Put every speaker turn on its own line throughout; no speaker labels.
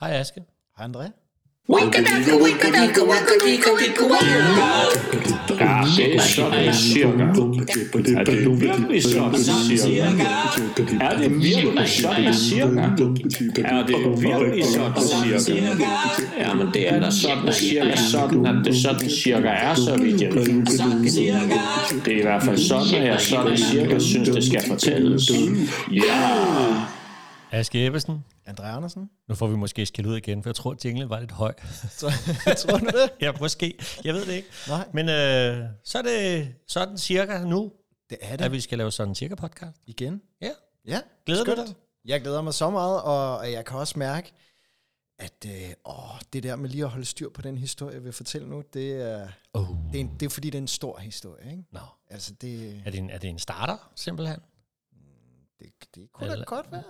Hej Aske.
Hej André.
Ja, det er sådan cirka. Er det virkelig sådan cirka? Er det virkelig sådan cirka? Er det virkelig sådan cirka? Ja, men det er da sådan cirka sådan, at det sådan cirka er, så vidt jeg ved. Det er i hvert fald sådan, at jeg sådan cirka synes, det skal fortælles. Ja!
Aske Ebbesen.
André Andersen.
Nu får vi måske skæld ud igen, for jeg tror, at jinglen var lidt høj.
Så, tror du det?
ja, måske. Jeg ved det ikke.
Nej.
Men øh, så er det sådan cirka nu,
Det er
at
det
vi skal lave sådan cirka podcast.
igen.
Ja.
Ja.
Glæder du
skønt.
dig?
Jeg glæder mig så meget, og jeg kan også mærke, at øh, åh, det der med lige at holde styr på den historie, jeg vil fortælle nu, det er,
Oh.
det er, en, det er fordi, det er en stor historie. Ikke?
Nå.
Altså, det,
Er det, en, er det en starter, simpelthen?
det, det kunne da
Eller-
godt være.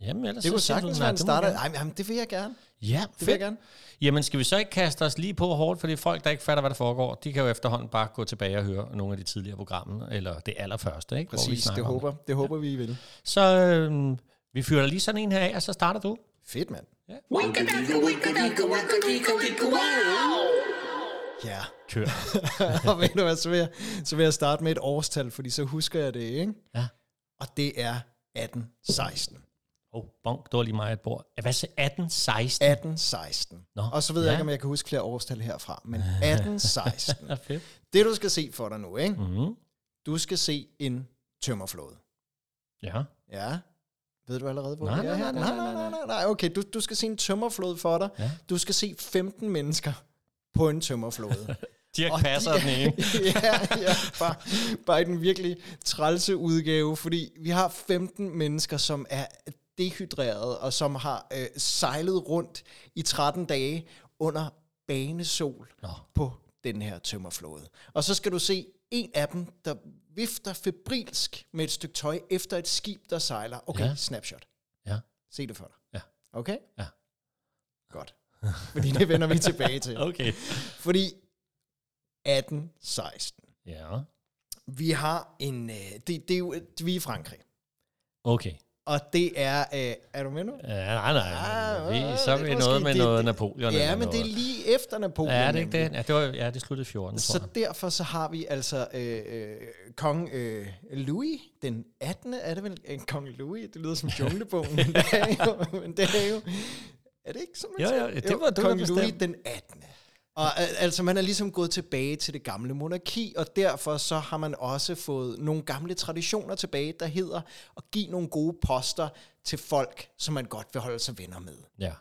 Jamen, ellers
Det kunne
så siger du,
sagtens
nej,
være en
du må
starter.
gerne.
Ej, men, jamen, det vil jeg gerne.
Ja,
Det vil jeg
fedt.
gerne.
Jamen, skal vi så ikke kaste os lige på hårdt, fordi folk, der ikke fatter, hvad der foregår, de kan jo efterhånden bare gå tilbage og høre nogle af de tidligere programmer, eller det allerførste, ikke? Hvor vi
Præcis,
snakker
det
om
håber, det håber vi, I vil.
Så øh, vi fyrer da lige sådan en her af, og så starter du.
Fedt, mand. Ja.
Kør.
og ved du hvad, så vil, jeg, så vil jeg starte med et årstal, fordi så husker jeg det, ikke?
Ja.
Og det er 1816.
Åh, oh, bonk, det var lige mig et bord. Hvad så 18, 16?
1816.
Nå,
Og så ved ja.
ja.
jeg ikke, om jeg kan huske flere årstal herfra, men 1816.
Ja, fedt.
det du skal se for dig nu, ikke?
Mm-hmm.
Du skal se en tømmerflåde.
Ja.
Ja. Ved du allerede, hvor
Nej,
det
nej,
er her?
nej, nej,
nej, nej, nej. Okay, du, du skal se en tømmerflåde for dig.
Ja.
Du skal se 15 mennesker på en tømmerflåde.
Dirk
Og
passer
de-
den ene.
ja, ja bare, bare i den virkelig trælse udgave, fordi vi har 15 mennesker, som er dehydreret og som har øh, sejlet rundt i 13 dage under banesol Nå. på den her tømmerflåde. Og så skal du se en af dem, der vifter febrilsk med et stykke tøj efter et skib, der sejler. Okay,
Ja.
ja. snapshot.
Ja.
Se det for dig.
Ja.
Okay?
Ja.
Godt. Fordi det vender vi tilbage til.
Okay.
Fordi 1816.
Ja.
Vi har en... Øh, det, det er jo, vi er i Frankrig.
Okay.
Og det er... Øh, er du med nu?
Ja, nej, nej.
Ah,
vi,
ah,
så er
det
vi
er
noget
måske-
med
det-
noget
det-
Napoleon.
Ja,
eller
men det er
noget.
lige efter Napoleon.
Ja, det er ikke
nemlig.
det. Ja, det, var, ja, det sluttede i 14, tror
Så
jeg.
derfor så har vi altså øh, øh, kong øh, Louis den 18. Er det vel øh, kong Louis? Det lyder som junglebogen, men det er jo... Men det er, jo er det ikke sådan, man
Jo,
siger?
jo, det var du, der
Kong
bestemte.
Louis den 18. Og øh, altså, man er ligesom gået tilbage til det gamle monarki, og derfor så har man også fået nogle gamle traditioner tilbage, der hedder at give nogle gode poster til folk, som man godt vil holde sig venner med.
Ja.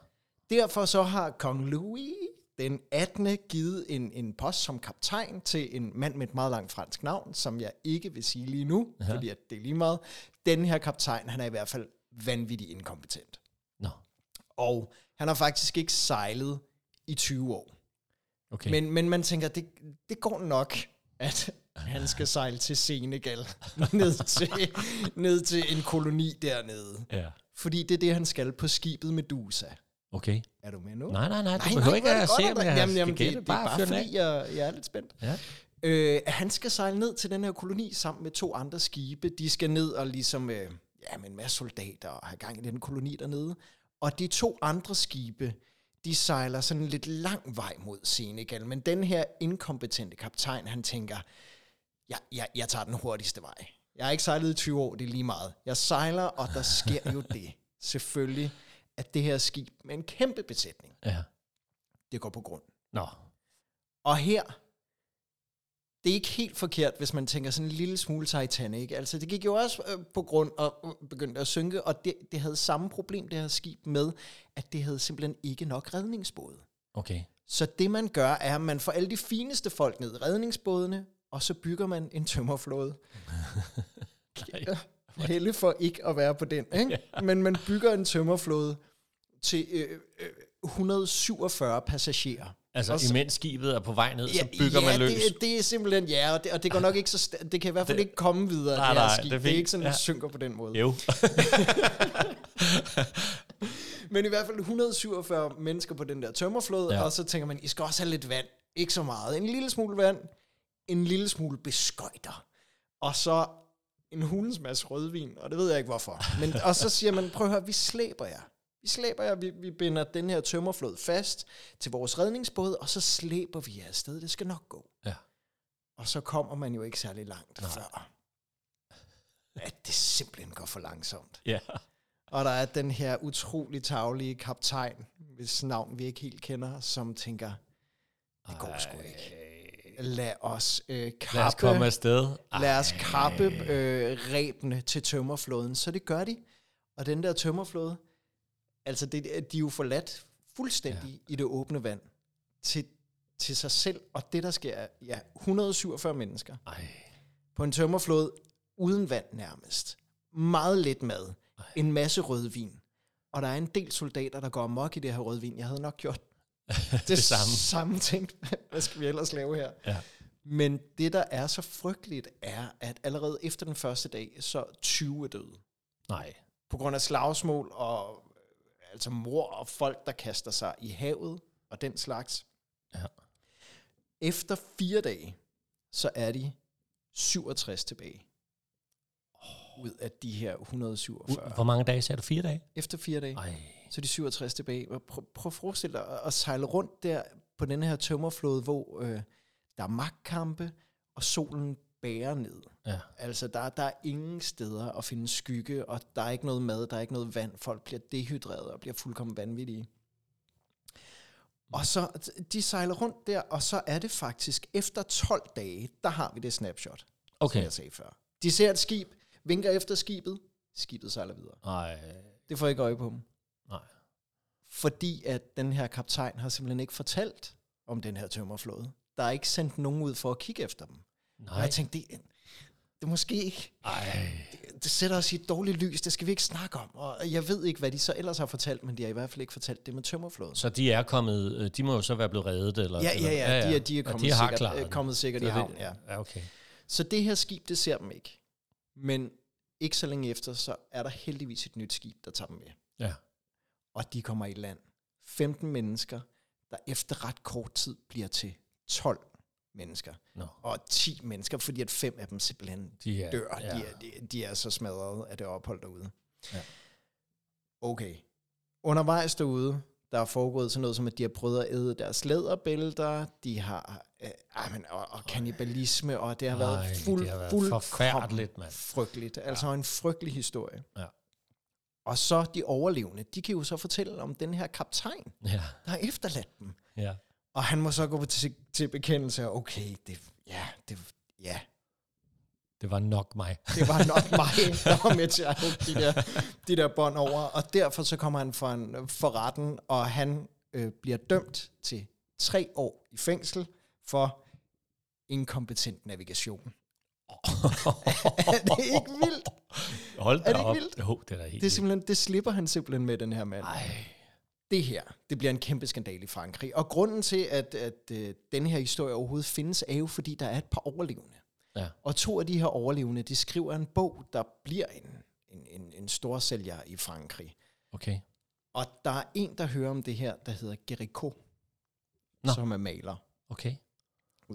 Derfor så har kong Louis den 18. givet en, en post som kaptajn til en mand med et meget langt fransk navn, som jeg ikke vil sige lige nu, ja. fordi at det er lige meget. Den her kaptajn, han er i hvert fald vanvittigt inkompetent.
Nå.
Og han har faktisk ikke sejlet i 20 år.
Okay.
Men, men man tænker, det, det går nok, at han skal sejle til Senegal, ned til, ned til en koloni dernede.
Ja.
Fordi det er det, han skal på skibet Medusa.
Okay.
Er du med nu?
Nej, nej, nej. Du
Nej,
behøver
nej,
ikke
hvor
at
er det godt,
se,
at
om
der-
jeg
jamen, jamen,
skal
det,
gætte.
det, er bare
fyr den af.
fordi, jeg, jeg er lidt spændt.
Ja.
Øh, han skal sejle ned til den her koloni sammen med to andre skibe. De skal ned og ligesom, øh, ja, med en masse soldater og have gang i den koloni dernede. Og de to andre skibe, de sejler sådan lidt lang vej mod Senegal. Men den her inkompetente kaptajn, han tænker, jeg, jeg, jeg tager den hurtigste vej. Jeg har ikke sejlet i 20 år, det er lige meget. Jeg sejler, og der sker jo det, selvfølgelig, at det her skib med en kæmpe besætning,
Ja.
det går på grund.
Nå.
Og her, det er ikke helt forkert, hvis man tænker sådan en lille smule Titanic. Altså, det gik jo også øh, på grund og øh, begyndte at synke, og det, det havde samme problem, det her skib, med, at det havde simpelthen ikke nok redningsbåde.
Okay.
Så det, man gør, er, at man får alle de fineste folk ned i redningsbådene, og så bygger man en tømmerflåde. Helle for ikke at være på den, ikke? Men man bygger en tømmerflåde til øh, øh, 147 passagerer.
Altså,
Og så-
imens skibet er på vej ned, så bygger
ja,
man løs.
Det, det er simpelthen, ja, og det, og det går nok ikke så... sta- Det kan i hvert fald ikke komme videre,
Nej,
det her
nej,
skib.
det er
Det, det er
fint.
ikke sådan, at
Ja.
det synker på den måde.
Jo.
Men i hvert fald 147 mennesker på den der tømmerflåde,
Ja.
ja. og så tænker man, I skal også have lidt vand. Ikke så meget. En lille smule vand, en lille smule beskøjter, og så en hulens masse rødvin, og det ved jeg ikke hvorfor. Men, og så siger man, prøv at høre, vi slæber jer. Vi slæber jer, vi, vi binder den her tømmerflod fast til vores redningsbåd, og så slæber vi jer afsted. Det skal nok gå.
Ja.
Og så kommer man jo ikke særlig langt Nej. før, at det simpelthen går for langsomt.
Ja.
Og der er den her utrolig taglige kaptajn, hvis navn vi ikke helt kender, som tænker, det går sgu ikke. Lad os øh, kappe,
Lad os komme afsted.
lad os kappe øh, rebene til tømmerflåden. Så det gør de. Og den der tømmerflåde, altså det, de er jo forladt fuldstændig ja. i det åbne vand til, til sig selv. Og det der sker, er, ja, 147 mennesker
Ej,
på en tømmerflod uden vand nærmest. Meget lidt mad. En masse rødvin. Og der er en del soldater, der går amok i det her rødvin. Jeg havde nok gjort det, det
samme.
samme. samme ting. Hvad skal vi ellers lave her?
Ja.
Men det, der er så frygteligt, er, at allerede efter den første dag, så 20 er døde.
nej.
På grund af slagsmål og øh, altså mor og folk, der kaster sig i havet og den slags.
Ja.
Efter fire dage, så er de 67 tilbage. Ud af de her 147.
Hvor mange dage sagde du? Fire dage?
Efter fire dage.
Nej.
Så er de 67 tilbage. Og Prøv, prøv at forestille dig at- at sejle rundt der på den her tømmerflåde, hvor øh, der er magtkampe, og solen bærer ned.
Ja.
Altså, der, der er ingen steder at finde skygge, og der er ikke noget mad, der er ikke noget vand. Folk bliver dehydreret og bliver fuldkommen vanvittige. Og så, de sejler rundt der, og så er det faktisk efter 12 dage, der har vi det snapshot, som
Okay.
jeg sagde før. De ser et skib, vinker efter skibet, skibet sejler videre.
Nej.
Det får ikke øje på dem
Nej.
fordi at den her kaptajn har simpelthen ikke fortalt om den her tømmerflåde. Der er ikke sendt nogen ud for at kigge efter dem. Nej. Og
Nej.
jeg tænkte, det, det er måske ikke,
Ej.
det sætter os i et dårligt lys, det skal vi ikke snakke om. Og jeg ved ikke, hvad de så ellers har fortalt, men de har i hvert fald ikke fortalt det med tømmerflåden.
Så de er kommet, øh, de må jo så være blevet reddet? Eller,
Ja,
eller,
ja, ja, de er- de er
Og
kommet
har
sikkert-
klaret
øh,
den.
kommet sikkert i
Så det-
havn, ja.
ja. okay.
Så det her skib, det ser dem ikke. Men ikke så længe efter, så er der heldigvis et nyt skib, der tager dem med.
Ja.
Og de kommer i land. 15 mennesker, der efter ret kort tid bliver til 12 mennesker.
Nå.
og 10 mennesker, fordi at fem af dem simpelthen
De er,
dør. Ja.
Ja.
De, er, de, de er så smadret af det ophold derude.
Ja.
Okay. Undervejs derude, der er foregået sådan noget som, at de har prøvet at æde deres læderbælter, de har øh, ah, men, og, og kannibalisme, og det har
Ej,
været,
det
fuld,
har været
fuldkommen
forfærdeligt, mand.
frygteligt. Altså en frygtelig historie.
Ja.
Og så de overlevende, de kan jo så fortælle om den her kaptajn,
ja.
der har efterladt dem.
ja.
Og han må så gå til, til bekendelse, og okay, det, ja, det, ja,
Det var nok mig.
det var nok mig, der var med til at hugge de der, de der bånd over. Og derfor så kommer han for, en, for retten, og han øh, bliver dømt til tre år i fængsel for inkompetent navigation. er det ikke vildt?
Hold da
Er det ikke
op.
vildt?
Jo, det er da helt
Det, er
vildt.
simpelthen, det slipper han simpelthen med, den her mand.
Ej.
det her, det bliver en kæmpe skandal i Frankrig. Og grunden til, at, at øh, den her historie overhovedet findes, er jo, fordi der er et par overlevende.
Ja.
Og to af de her overlevende, de skriver en bog, der bliver en, en, en, en stor sælger i Frankrig.
Okay.
Og der er en, der hører om det her, der hedder Gericault,
Nå.
som er maler,
Okay.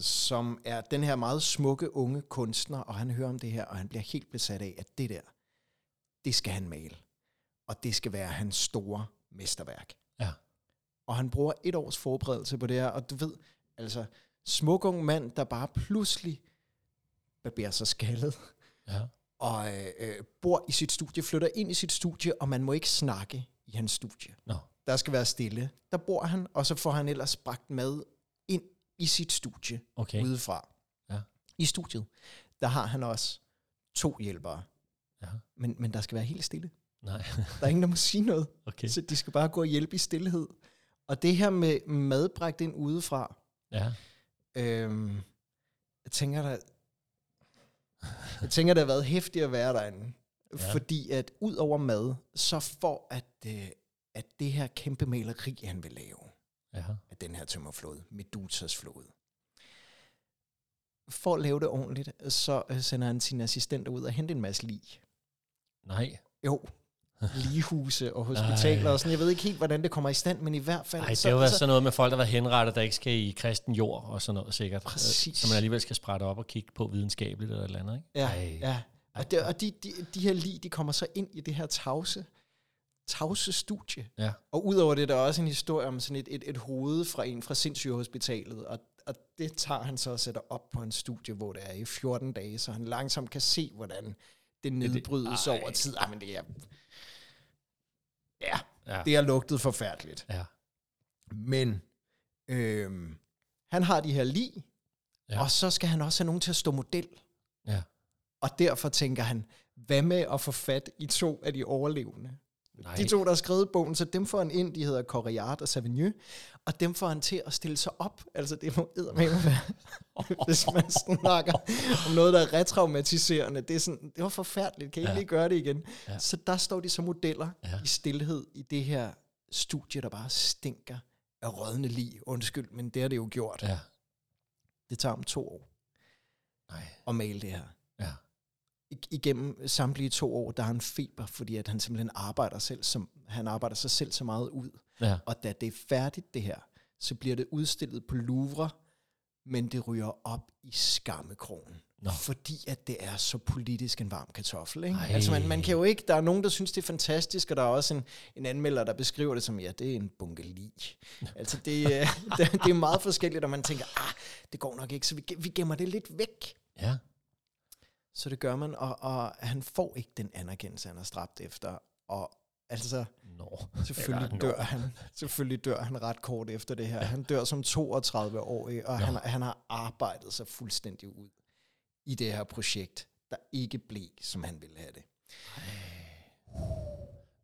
som er den her meget smukke unge kunstner, og han hører om det her, og han bliver helt besat af, at det der, det skal han male. Og det skal være hans store mesterværk.
Ja.
Og han bruger et års forberedelse på det her, og du ved, altså, smuk ung mand, der bare pludselig barberer sig skaldet,
Ja.
og øh, øh, bor i sit studie, flytter ind i sit studie, og man må ikke snakke i hans studie.
Nå.
Der skal være stille. Der bor han, og så får han ellers bragt mad ind i sit studie
Okay.
udefra.
Ja.
I studiet, der har han også to hjælpere.
Ja.
Men, men der skal være helt stille.
Nej.
Der er ingen, der må sige noget.
Okay.
Så de skal bare gå og hjælpe i stillhed. Og det her med mad bragt ind udefra,
Ja.
øhm, jeg tænker der, jeg tænker, det har været hæftigt at være derinde.
Ja.
Ja. Fordi at ud over mad, så for at, øh, at det her kæmpe maleri, han vil lave,
Ja.
af den her tømmerflåde, Medusas flåde. For at lave det ordentligt, så øh, sender han sine assistenter ud og hente en masse lig.
Nej.
Jo, ligehuse og hospitaler
Ej.
og sådan. Jeg ved ikke helt, hvordan det kommer i stand, men i hvert fald...
Ej, det har jo
altså-
været sådan noget med folk, der har været henrettet, der ikke skal i kristen jord og sådan noget sikkert. Øh,
Præcis.
Så man alligevel skal sprætte op og kigge på videnskabeligt eller et eller andet, ikke?
Ja,
Ej.
ja. Og, det, og de, de, de her lig, de kommer så ind i det her tavse tavse studie.
Ja.
Og udover det, der er også en historie om sådan et, et, et hoved fra en fra sindssygehospitalet, og, og det tager han så og sætter op på en studie, hvor det er i 14 dage, så han langsomt kan se, hvordan det nedbrydes
ej.
over tid. Ej, men det er... Ja,
Ja.
det har lugtet forfærdeligt.
ja.
Men øhm, han har de her lige,
Ja.
ja. og så skal han også have nogen til at stå model.
Ja.
Og derfor tænker han, hvad med at få fat i to af de overlevende?
Nej.
De to, der har skrevet bogen, så dem får han ind, de hedder Corriart og Savigny, og dem får han til at stille sig op. Altså, det må eddermame være, hvis man snakker om noget, der er retraumatiserende. Det, er sådan, det var forfærdeligt, kan I ja. lige gøre det igen? Ja. Så der står de som modeller
Ja.
ja. i stillhed i det her studie, der bare stinker af rådne lig. Undskyld, men det har det jo gjort. Ja.
Ja.
Det tager om to år
Nej.
at male det her.
Ja.
I- igennem samtlige to år, der har han feber, fordi at han simpelthen arbejder selv, som, han arbejder sig selv så meget ud.
Ja.
Og da det er færdigt det her, så bliver det udstillet på Louvre, men det ryger op i skammekrogen.
Nå.
Fordi at det er så politisk en varm kartoffel. Ikke?
Ej.
Altså man, man kan jo ikke, der er nogen, der synes, det er fantastisk, og der er også en, en anmelder, der beskriver det som, ja, det er en bunke lig. Altså det, øh, det, det er meget forskelligt, og man tænker, ah, det går nok ikke, så vi, ge- vi gemmer det lidt væk.
Ja.
Så det gør man, og, og han får ikke den anerkendelse, han er stræbt efter. Og altså,
Nå.
selvfølgelig
Eller, nå.
dør han. Selvfølgelig dør han ret kort efter det her. Han dør som 32 år, og han, han har arbejdet sig fuldstændig ud i det her projekt, der ikke blev, som han ville have det.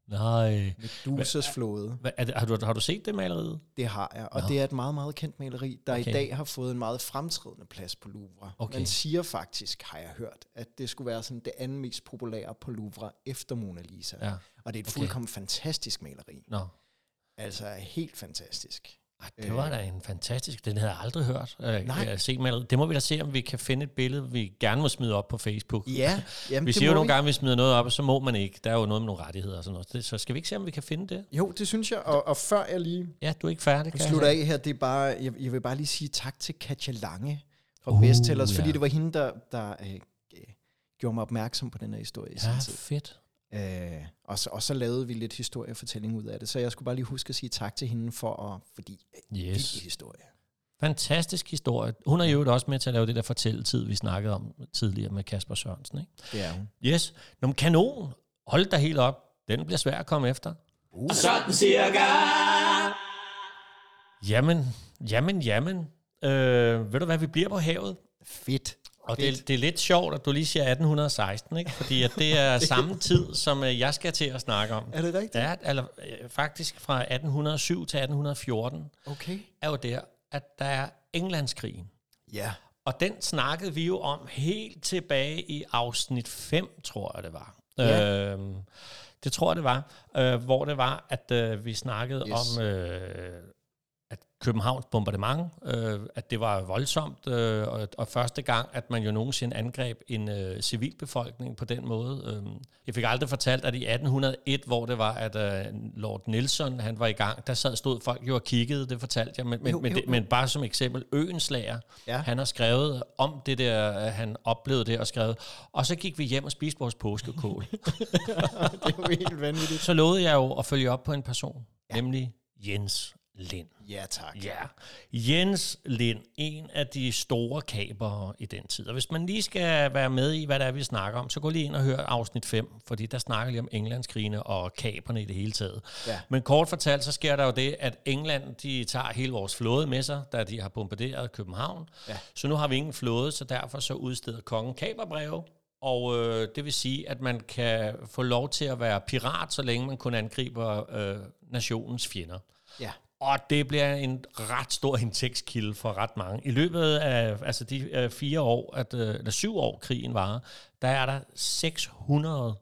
Nej.
Medusas flåde,
Hva, er det, har, du, har du set det maleriet?
det har jeg. Og det er et meget, meget kendt maleri, der
Okay.
i dag har fået en meget fremtrædende plads på Louvre.
Okay.
Man siger faktisk, har jeg hørt, at det skulle være sådan det andet mest populære på Louvre efter Mona Lisa.
Ja.
Og det
Okay.
er et okay. fuldkommen fantastisk maleri.
Nå.
Altså helt fantastisk.
Ej, det var da en fantastisk... Den havde jeg aldrig hørt. Øh,
Øh. Nej.
øh, Se maleriet. Det må vi da se, om vi kan finde et billede, vi gerne må smide op på Facebook.
Ja, jamen,
Vi
det
siger jo
må
nogle gange, at vi smider noget op, og så må man ikke. Der er jo noget med nogle rettigheder og sådan noget. Det- Så skal vi ikke se, om vi kan finde det?
Jo, det synes jeg. Og, og før jeg lige
Ja, du er ikke færdig, kan jeg
slutter
høre.
af her, det er bare, jeg, jeg vil bare lige sige tak til Katja Lange fra uh, Bestsellers,
ja.
fordi det var hende, der, der øh, øh, gjorde mig opmærksom på den her historie i sin
Ja,
tid.
fedt.
Øh, og, så, og så lavede vi lidt historiefortælling ud af det, så jeg skulle bare lige huske at sige tak til hende for at, fordi yes.
Yes.
vild historie.
Fantastisk historie. Hun er jo også med til at lave det der fortælletid, vi snakkede om tidligere med Kasper Sørensen. Ikke?
Det er hun.
Yes. Nå, men kanon. Hold dig helt op. Den bliver svær at komme efter.
Uh.
Og sådan cirka.
Jamen, jamen, jamen. Øh, ved du hvad, vi bliver på havet.
Fedt.
Og det, det er lidt sjovt, at du lige siger 1816, ikke? fordi at det er samme tid, som øh, jeg skal til at snakke om.
Er det rigtigt?
Ja, eller, øh, faktisk fra 1807 til 1814
Okay.
er jo der, at der er Englandskrigen.
Ja.
Og den snakkede vi jo om helt tilbage i afsnit 5, tror jeg det var.
Ja.
Øhm, det tror jeg det var, øh, hvor det var, at øh, vi snakkede yes.
Yes.
om, øh, at Københavns bombardement, øh, at det var voldsomt, øh, og, og første gang, at man jo nogensinde angreb en øh, civilbefolkning på den måde. Øh. Jeg fik aldrig fortalt, at i 1801, hvor det var, at øh, Lord Nelson han var i gang, der sad stod folk jo og kiggede, det fortalte jeg, men, men,
Jo,
men,
jo,
det,
jo.
men bare som eksempel, Øenslager,
Ja.
han har skrevet om det der, øh, han oplevede det og skrevet, og så gik vi hjem og spiste vores påskekål.
Det er jo helt vanvittigt.
så lovede jeg jo at følge op på en person, ja. nemlig Jens Lind.
Ja, tak.
Ja, Jens Lind, en af de store kabere i den tid. Og hvis man lige skal være med i, hvad det er, vi snakker om, så gå lige ind og hør afsnit 5, fordi der snakker lige om Englandskrigene og kaberne i det hele taget.
Ja.
Men kort fortalt, så sker der jo det, at England, de tager hele vores flåde med sig, da de har bombarderet København. Ja. Så nu har vi ingen flåde, så derfor så udsteder kongen kaberbreve, og øh, det vil sige, at man kan få lov til at være pirat, så længe man kun angriber øh, nationens fjender.
Ja.
Og det bliver en ret stor indtægtskilde for ret mange. I løbet af altså de øh, fire år, at, øh, eller syv år krigen varer, der er der 600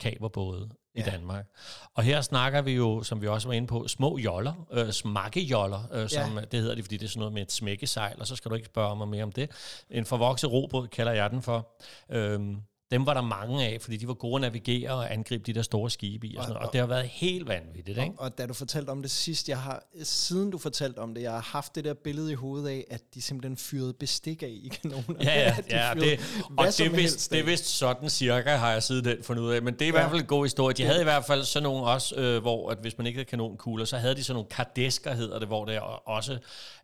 kaberbåde i
Ja.
Danmark. Og her snakker vi jo, som vi også var inde på, små joller, øh, smakkejoller, øh, som ja. det hedder det, fordi det er sådan noget med et smækkesejl, og så skal du ikke spørge mig mere om det. En forvokset robåd kalder jeg den for. Øhm, dem var der mange af, fordi de var gode at navigere og angribe de der store skibe i. Og, sådan noget. og det har været helt vanvittigt. Ikke?
Og da du fortalte om det sidst, jeg har, siden du fortalte om det, jeg har haft det der billede i hovedet af, at de simpelthen fyrede bestik af i kanonerne.
Ja, ja,
At de
ja
fyrede
det, og
hvad
det
som
er, vist,
helst af.
det er vist sådan cirka, har jeg siden den fundet ud af. Men det er i ja. hvert
Ja.
fald en god historie. De havde i hvert fald sådan nogle også, øh, hvor at hvis man ikke havde kanonkugler, så havde de sådan nogle kardesker, hedder det, hvor det er også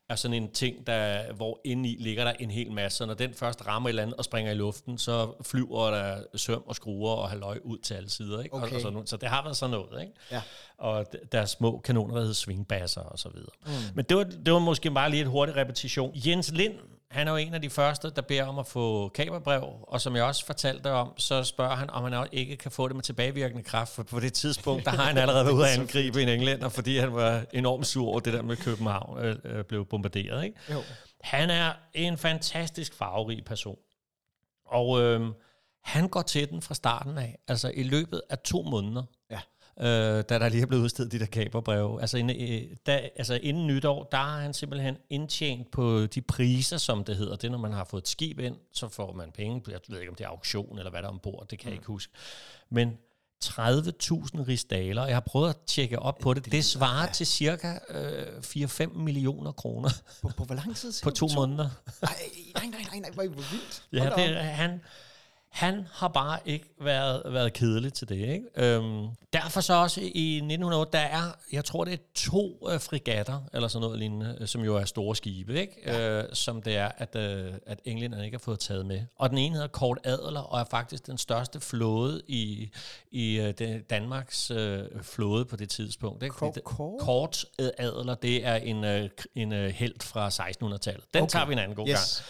er sådan en ting, der, hvor indeni ligger der en hel masse. Og når den først rammer i land og springer i luften, så flyver der søm og skruer og halvøj ud til alle sider. Ikke? Og,
Okay.
og sådan, noget. så det har været sådan noget. Ikke?
Ja.
Og d- der er små kanoner, der hedder svingbasser og så videre. Mm. Men det var, det var måske bare lige et hurtigt repetition. Jens Lind, han er jo en af de første, der beder om at få kamerbrev, og som jeg også fortalte dig om, så spørger han, om han også ikke kan få det med tilbagevirkende kraft, for på det tidspunkt, der har han allerede været ude at angribe en englænder, fordi han var enormt sur over det der med København øh, øh, blev bombarderet. Ikke?
Jo.
Han er en fantastisk farverig person. Og øhm, han går til den fra starten af. Altså i løbet af to måneder,
Ja.
øh, da der lige er blevet udstedt de der kaperbreve. Altså, inden, øh, da, altså inden nytår, der har han simpelthen indtjent på de priser, som det hedder. Det er, når man har fået et skib ind, så får man penge. Jeg ved ikke, om det er auktion eller hvad der er ombord, det kan jeg ikke huske. Men 30.000 rigsdaler. Jeg har prøvet at tjekke op på det. Det svarer til cirka øh, 4-5 millioner kroner
På, på hvor lang tid?
på to måneder.
Nej, nej, nej, nej, nej, hvor hvor vildt.
Ja,
Hold da op.
det, er- han, han har bare ikke været, været kedelig til det. Ikke? Øhm, derfor så også i 1908, der er, jeg tror det er to øh, frigatter, eller sådan noget lignende, øh, som jo er store skibe, ikke? Ja. Øh, som det er, at, øh, at englænderne ikke har fået taget med. Og den ene hedder Kort Adler, og er faktisk den største flåde i, i øh, den- Danmarks øh, flåde på det tidspunkt. Ikke?
Kort-
Fordi det-
Kort?
Kort øh, Adler, det er en, øh, k- en øh, held fra 1600-tallet. Den okay. tager vi en anden god yes. gang.
Yes.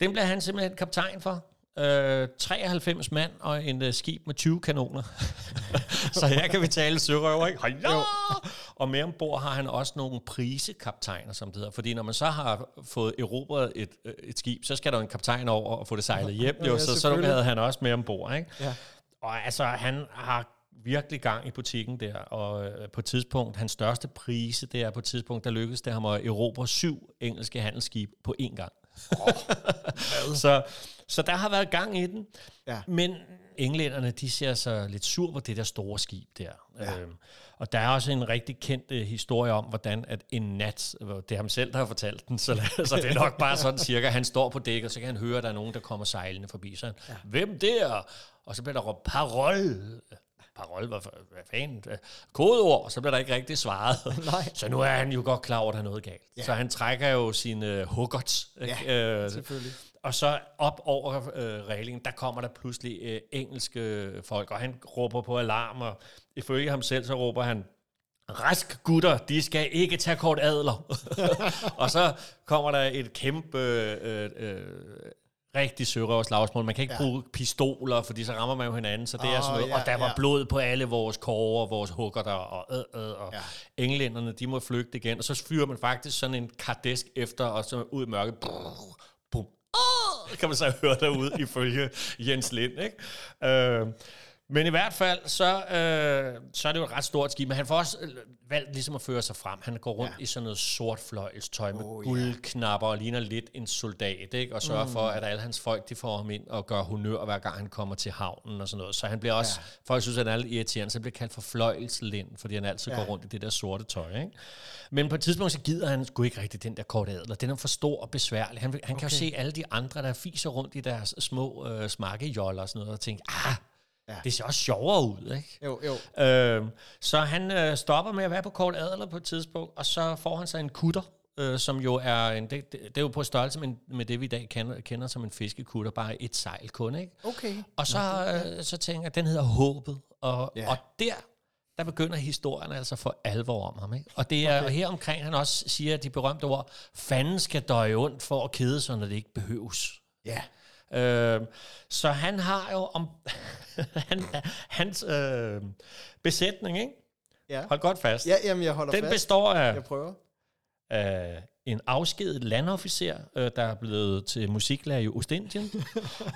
Den blev han simpelthen kaptajn for. Øh, 93 mand og en øh, skib med 20 kanoner. så her kan vi tale sørøver, ikke? Hallo! Og med ombord har han også nogle prisekaptajner, som det hedder. Fordi når man så har fået erobret et, øh, et skib, så skal der jo en kaptajn over og få det sejlet hjem. Jo,
Ja,
så, så
selvfølgelig.
havde han også med ombord, ikke?
Ja.
Og altså, han har virkelig gang i butikken der, og øh, på et tidspunkt, hans største prise, det er på et tidspunkt, der lykkedes det ham at erobre syv engelske handelsskib på én gang. Oh, så, så der har været gang i den.
Ja.
Men englænderne, de ser sig lidt sur på det der store skib der. Ja. Øhm, og der er også en rigtig kendt øh, historie om, hvordan at en nat, hvor det er ham selv, der har fortalt den, så, så det er nok bare sådan cirka, han står på dækket, så kan han høre, at der er nogen, der kommer sejlende forbi. Så han, ja. hvem der? Og så bliver der råbt, parol! Parol, hvad, for- hvad fanden? Øh, Kodeord, så bliver der ikke rigtig svaret. Nej. Så nu er han jo godt klar over, at der er noget galt. Ja. Så han trækker jo sine huggerts. Ja, øh,
selvfølgelig.
og så op over øh, reglingen, der kommer der pludselig øh, engelske folk, og han råber på alarm, og ifølge ham selv, så råber han, rask gutter, de skal ikke tage kort adler. og så kommer der et kæmpe, øh, øh, rigtig sørøvers slagsmål. Man kan ikke ja. bruge pistoler, fordi så rammer man jo hinanden, så det oh, er
Åh,
sådan noget.
ja,
og der var
ja.
blod på alle vores kårer, vores hugger der, og, øh, øh, og ja. englænderne, de må flygte igen. Og så fyrer man faktisk sådan en kardesk efter, og så ud i mørket, brrr, bum, Åh, kan man så høre derude, ifølge Jens Lind. Ikke? Øh, men i hvert fald, så, øh, så er det jo et ret stort skib, men han får også øh, valgt ligesom at føre sig frem. Han går rundt ja. i sådan noget sort fløjelstøj med oh, guldknapper og ligner lidt en soldat, ikke? og sørger mm. for, at alle hans folk de får ham ind og gør honør, hver gang han kommer til havnen og sådan noget. Så han bliver også, ja. folk synes, at han er lidt irriterende, så han bliver kaldt for fløjelslind, fordi han altid ja. går rundt i det der sorte tøj. Ikke? Men på et tidspunkt, så gider han sgu ikke rigtig den der korte adler. Den er for stor og besværlig. Han, vil- han okay. kan jo se alle de andre, der fiser rundt i deres små øh, smakkejoller og sådan noget, og tænke, ah, ja. det ser også sjovere ud, ikke?
Jo, jo.
Øh, så han øh, stopper med at være på Kort Adler på et tidspunkt, og så får han sig en kutter, øh, som jo er en, det, det, det er jo på størrelse med, med det, vi i dag kender, kender som en fiskekutter, bare et sejl kun, ikke?
Okay.
Og så, øh, så tænker jeg, den hedder Håbet, og,
Ja.
og der der begynder historien altså for alvor om ham. Ikke? Og det er okay. her omkring, han også siger de berømte ord, fanden skal døje ondt for at kede sig, når det ikke behøves.
Ja.
Øh, så han har jo om han, hans øh, besætning, ikke?
Ja.
Hold godt fast.
Ja, jamen, jeg holder
Den
fast.
består af,
Jeg prøver.
af en afskedet landofficer, øh, der er blevet til musiklærer i Ostindien,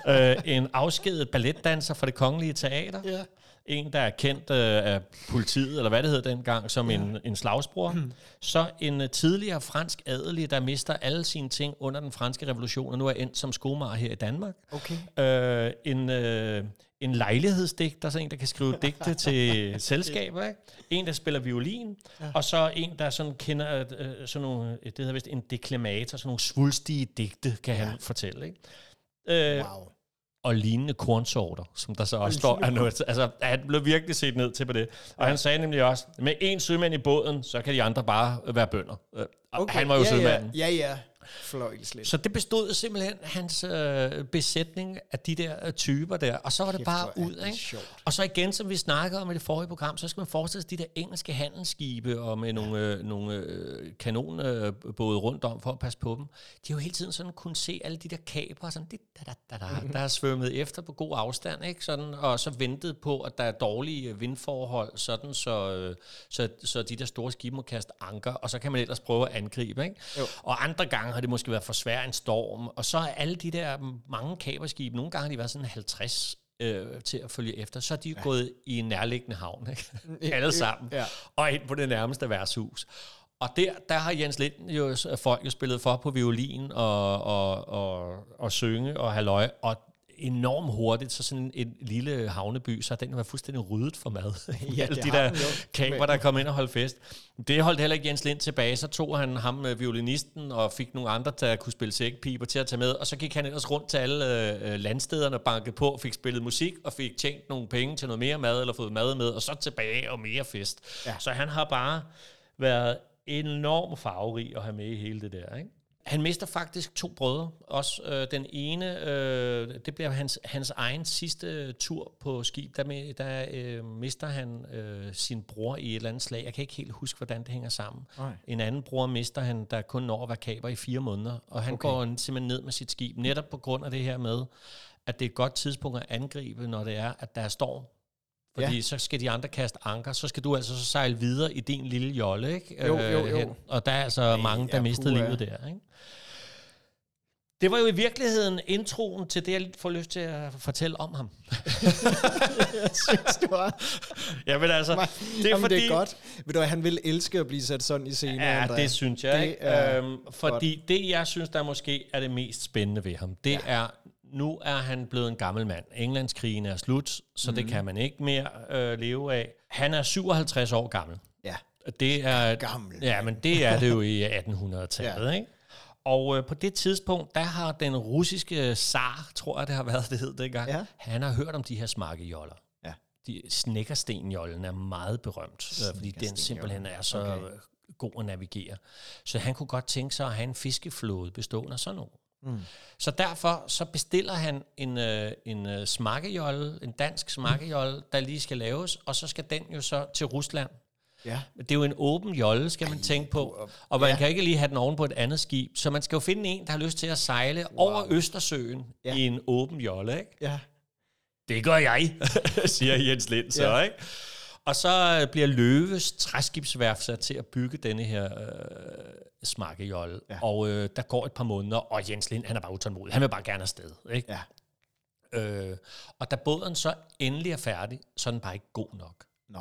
øh, en afskedet balletdanser fra det kongelige teater,
Ja.
en, der er kendt øh, af politiet, eller hvad det hed dengang, som ja. en, en slagsbror.
Mm.
Hmm. Så en øh, tidligere fransk adelig, der mister alle sine ting under den franske revolution, og nu er endt som skomager her i Danmark.
Okay.
Øh, en, øh, en lejlighedsdigter, så en, der kan skrive digte til selskaber, ikke? en, der spiller violin, ja. og så en, der sådan kender øh, sådan nogle, det hedder vist en deklamator, sådan nogle svulstige digte, kan ja. han fortælle. Ikke? Øh, wow og lignende kornsorter, som der så også og står. Er noget, altså, han blev virkelig set ned til på det. Og ja. han sagde nemlig også, med en sømand i båden, så kan de andre bare være bønder. Okay. Han var jo
ja,
sømanden.
Ja, ja. ja. Fløjls lidt.
Så det bestod simpelthen hans øh, besætning af de der øh, typer der, og så var det Kæft, bare ud. Det ikke? Sjovt. Og så igen, som vi snakkede om i det forrige program, så skal man forestille sig de der engelske handelsskibe og med ja. nogle, øh, nogle øh, kanonbåde øh, rundt om for at passe på dem. De har jo hele tiden sådan kunne se alle de der kaber, sådan, dit, da, da, da, da, der har svømmet efter på god afstand, ikke? Sådan, og så ventet på, at der er dårlige øh, vindforhold, sådan, så, øh, så, så de der store skibe må kaste anker, og så kan man ellers prøve at angribe. Ikke? Jo. Og andre gange har det måske været for svær en storm. Og så er alle de der mange kaberskibe, nogle gange har de været sådan 50 øh, til at følge efter, så er de ja. gået i en nærliggende havn, ikke? alle sammen, ja. og ind på det nærmeste værtshus. Og der, der har Jens Lind jo folk jo spillet for på violin og, og, og, og synge og halløj, og enormt hurtigt, så sådan en lille havneby, så den var fuldstændig ryddet for mad. Ja, Alle de der kamper, der kom ind og holdt fest. Det holdt heller ikke Jens Lind tilbage. Så tog han ham med violinisten og fik nogle andre, der kunne spille sækpiber til at tage med. Og så gik han ellers rundt til alle øh, landstederne og bankede på, fik spillet musik og fik tjent nogle penge til noget mere mad eller fået mad med, og så tilbage og mere fest. Ja. Så han har bare været enormt farverig at have med i hele det der, ikke? Han mister faktisk to brødre. Også øh, den ene, øh, det bliver hans, hans egen sidste øh, tur på skib. Der, med, der øh, mister han øh, sin bror i et eller andet slag. Jeg kan ikke helt huske, hvordan det hænger sammen. Nej. En anden bror mister han, der kun når at være kaber i fire måneder. Og han okay. går simpelthen ned med sit skib, netop på grund af det her med, at det er et godt tidspunkt at angribe, når det er, at der er storm. Fordi ja. så skal de andre kaste anker, så skal du altså så sejle videre i din lille jolle, ikke?
Jo, jo, jo.
Hen. Og der er altså Ej, mange, der ja, mistede puha. livet der, ikke? Det var jo i virkeligheden introen til det, jeg får lyst til at fortælle om ham.
jeg synes, det var...
Ja, men altså,
Nej, det er, Jamen, fordi... det er godt. Ved du, han vil elske at blive sat sådan i scenen,
Ja, André. det synes jeg, det ikke? Øhm, fordi godt. det, jeg synes, der måske er det mest spændende ved ham, det ja. er, nu er han blevet en gammel mand. Englandskrigen er slut, så mm.
Mhm.
det kan man ikke mere øh, leve af. Han er 57 år gammel.
Ja.
Det er,
gammel.
Ja, men det er det jo i 1800-tallet, ja. ikke? Og øh, på det tidspunkt, der har den russiske zar, tror jeg det har været, det hed dengang, ja. han har hørt om de her smakkejoller.
Ja.
De, snækkerstenjollen er meget berømt, øh, fordi den simpelthen er så okay. god at navigere. Så han kunne godt tænke sig at have en fiskeflåde bestående af sådan nogle. Mm. Så derfor så bestiller han en, øh, en øh, smakkejolle, en dansk smakkejolle, mm. der lige skal laves, og så skal den jo så til Rusland.
Ja.
Det er jo en åben jolle, skal man Ej, tænke på. Og man ja. kan ikke lige have den oven på et andet skib. Så man skal jo finde en, der har lyst til at sejle wow. over Østersøen ja. i en åben jolle. Ikke?
Ja.
Det gør jeg, siger Jens Lind så. Ja. Ikke? Og så øh, bliver Løves træskibsværf sat til at bygge denne her øh, smakkejolle. Ja. Og øh, der går et par måneder, og Jens Lind han er bare utålmodig. Han vil bare gerne afsted. Ikke? Ja. Øh, og da båden så endelig er færdig, så er den bare ikke god nok.
Nå.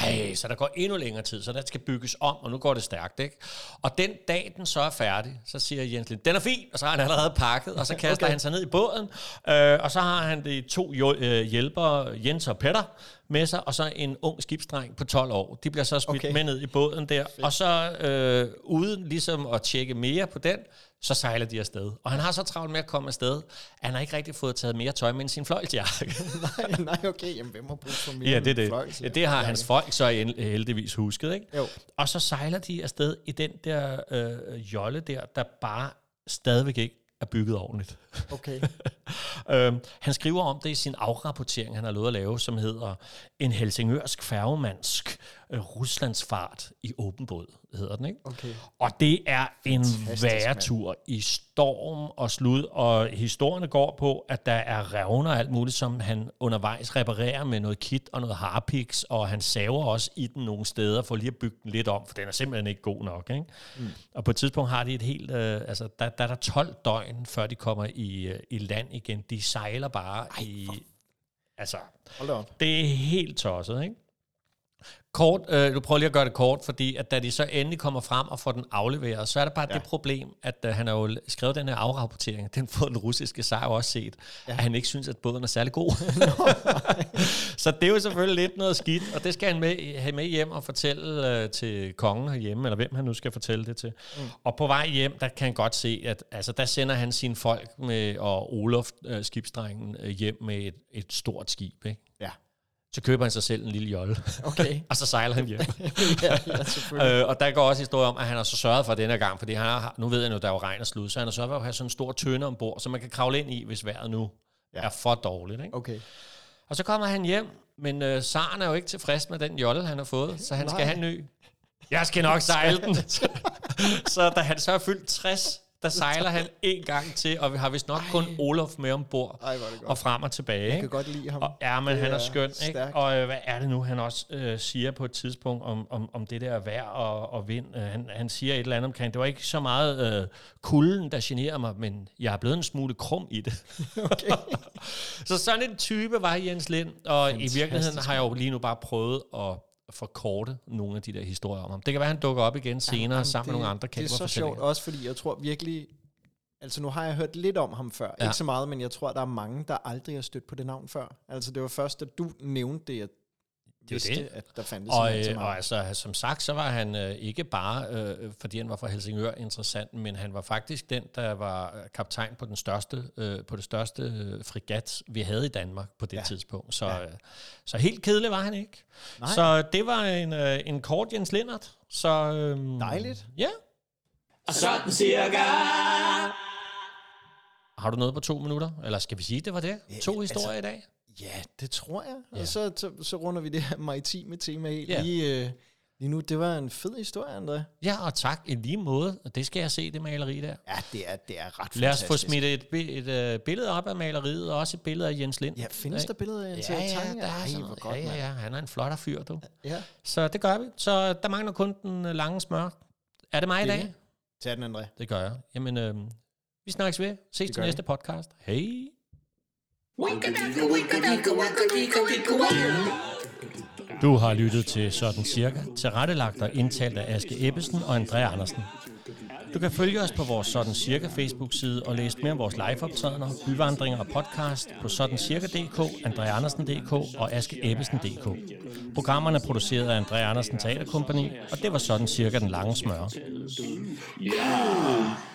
Ej, så der går endnu længere tid, så der skal bygges om, og nu går det stærkt, ikke? Og den dag, den så er færdig, så siger Jens Lind, den er fin, og så har han allerede pakket, og så kaster okay. han sig ned i båden, øh, og så har han de to øh, hjælpere, Jens og Petter, med sig, og så en ung skibsdreng på 12 år. De bliver så smidt okay. med ned i båden der, Fedt. og så øh, uden ligesom at tjekke mere på den, så sejler de afsted. Og han har så travlt med at komme afsted, at han har ikke rigtig fået taget mere tøj med end sin fløjlsjakke.
nej, nej, okay, jamen hvem har brug for mere
ja, det, det. Ja, det har hans folk så øh, heldigvis husket, ikke?
Jo.
Og så sejler de afsted i den der øh, jolle der, der bare stadigvæk ikke er bygget ordentligt.
Okay.
øhm, han skriver om det i sin afrapportering, han har lovet at lave, som hedder En helsingørsk færgemandsk øh, Ruslands fart i åben båd, hedder den, ikke?
Okay.
Og det er en væretur i storm og slud, og historierne går på, at der er revner og alt muligt, som han undervejs reparerer med noget kit og noget harpiks, og han saver også i den nogle steder for lige at bygge den lidt om, for den er simpelthen ikke god nok, ikke? Mm. Og på et tidspunkt har de et helt, øh, altså der, der er der 12 døgn, før de kommer i, øh, i land igen. De sejler bare Ej, i Altså,
Hold da op.
det er helt tosset, ikke? Kort, øh, du prøver lige at gøre det kort, fordi at da de så endelig kommer frem og får den afleveret, så er der bare ja. det problem, at øh, han har jo skrevet den her afrapportering, den får den russiske sejr også set, ja. at han ikke synes, at båden er særlig god. så det er jo selvfølgelig lidt noget skidt, og det skal han med, have med hjem og fortælle øh, til kongen herhjemme, eller hvem han nu skal fortælle det til. Mm. Og på vej hjem, der kan han godt se, at altså, der sender han sine folk med, og Olof, øh, skibsdrengen, øh, hjem med et, et stort skib, ikke?
Ja.
Så køber han sig selv en lille jolle.
Okay.
Og så sejler han hjem.
ja, ja, selvfølgelig.
øh, og der går også historie om, at han har så sørget for denne her gang, fordi han har, nu ved jeg nu, der er jo regn og slud, så han har sørget for at have sådan en stor tønde ombord, som man kan kravle ind i, hvis vejret nu ja. er for dårligt. Ikke?
Okay.
Og så kommer han hjem, men øh, Saren er jo ikke tilfreds med den jolle, han har fået, så han skal
Nej.
have en ny. Jeg skal nok sejle den. så da han så er fyldt 60, der sejler han en gang til, og vi har vist nok kun Olof med ombord,
Ej, hvor er det godt.
og frem og tilbage.
Jeg
ikke?
kan godt lide ham.
Og, ja, men
Det
han er
er
skøn, ikke?
stærkt.
Og øh, hvad er det nu, han også øh, siger på et tidspunkt om, om, om det der vejr og, og vind? Øh, han, han siger et eller andet omkring, det var ikke så meget øh, kulden, der generede mig, men jeg er blevet en smule krum i det.
Okay.
Så sådan en type var Jens Lind, og Fantastisk. i virkeligheden har jeg jo lige nu bare prøvet at forkorte nogle af de der historier om ham. Det kan være, han dukker op igen senere jamen, sammen med nogle andre
Det
kæmper
er så sjovt også, fordi jeg tror virkelig... Altså nu har jeg hørt lidt om ham før. Ja.
Ja.
Ikke så meget, men jeg tror, der er mange, der aldrig har stødt på det navn før. Altså det var først, da du nævnte det, jeg vidste,
det.
at der fandtes
Og,
en
øh, og altså, som sagt, så var han øh, ikke bare, øh, fordi han var fra Helsingør, interessant, men han var faktisk den, der var øh, kaptajn på den største, øh, på det største øh, frigat, vi havde i Danmark på det ja. tidspunkt. Så, ja. øh, så helt kedelig var han ikke. Nej. Så det var en, øh, en kort Jens Lindert. Så, øh,
Dejligt.
Ja.
Og sådan cirka.
Har du noget på to minutter? Eller skal vi sige, det var det? To historier altså, i dag?
Ja, det tror jeg. Ja. Og så, så, så runder vi det her maritime tema helt
Ja.
ja. lige, øh, lige nu. Det var en fed historie, André.
Ja, og tak i lige måde. Og Det skal jeg se, det maleri der.
Ja, det er, det er ret
Lad os få
fantastisk.
smidt et, bi- et, et billede op af maleriet, og også et billede af Jens Lind.
Ja, findes
Ikke?
der billeder af Jens
Ja,
Erik
ja,
Tange?
der
Ej,
er sådan
hvor
noget.
godt,
ja, ja,
mand.
ja, han er en flottere fyr, du.
ja.
Så det gør vi. Så der mangler kun den øh, lange smør. Er det mig i
Det er
dag?
det. Tag den, André.
Det gør jeg. Jamen, øh, vi snakkes ved. Ses til
gør vi.
næste podcast. Hej. Du har lyttet til Sådan Cirka, tilrettelagt og indtalt af Aske Ebbesen og André Andersen. Du kan følge os på vores Sådan Cirka Facebook-side og læse mere om vores liveoptrædener, byvandringer og podcast på sådancirka.dk, andreandersen.dk og askeebbesen.dk. Programmerne er produceret af André Andersen Teaterkompagni, og det var Sådan Cirka den lange smør.
Ja.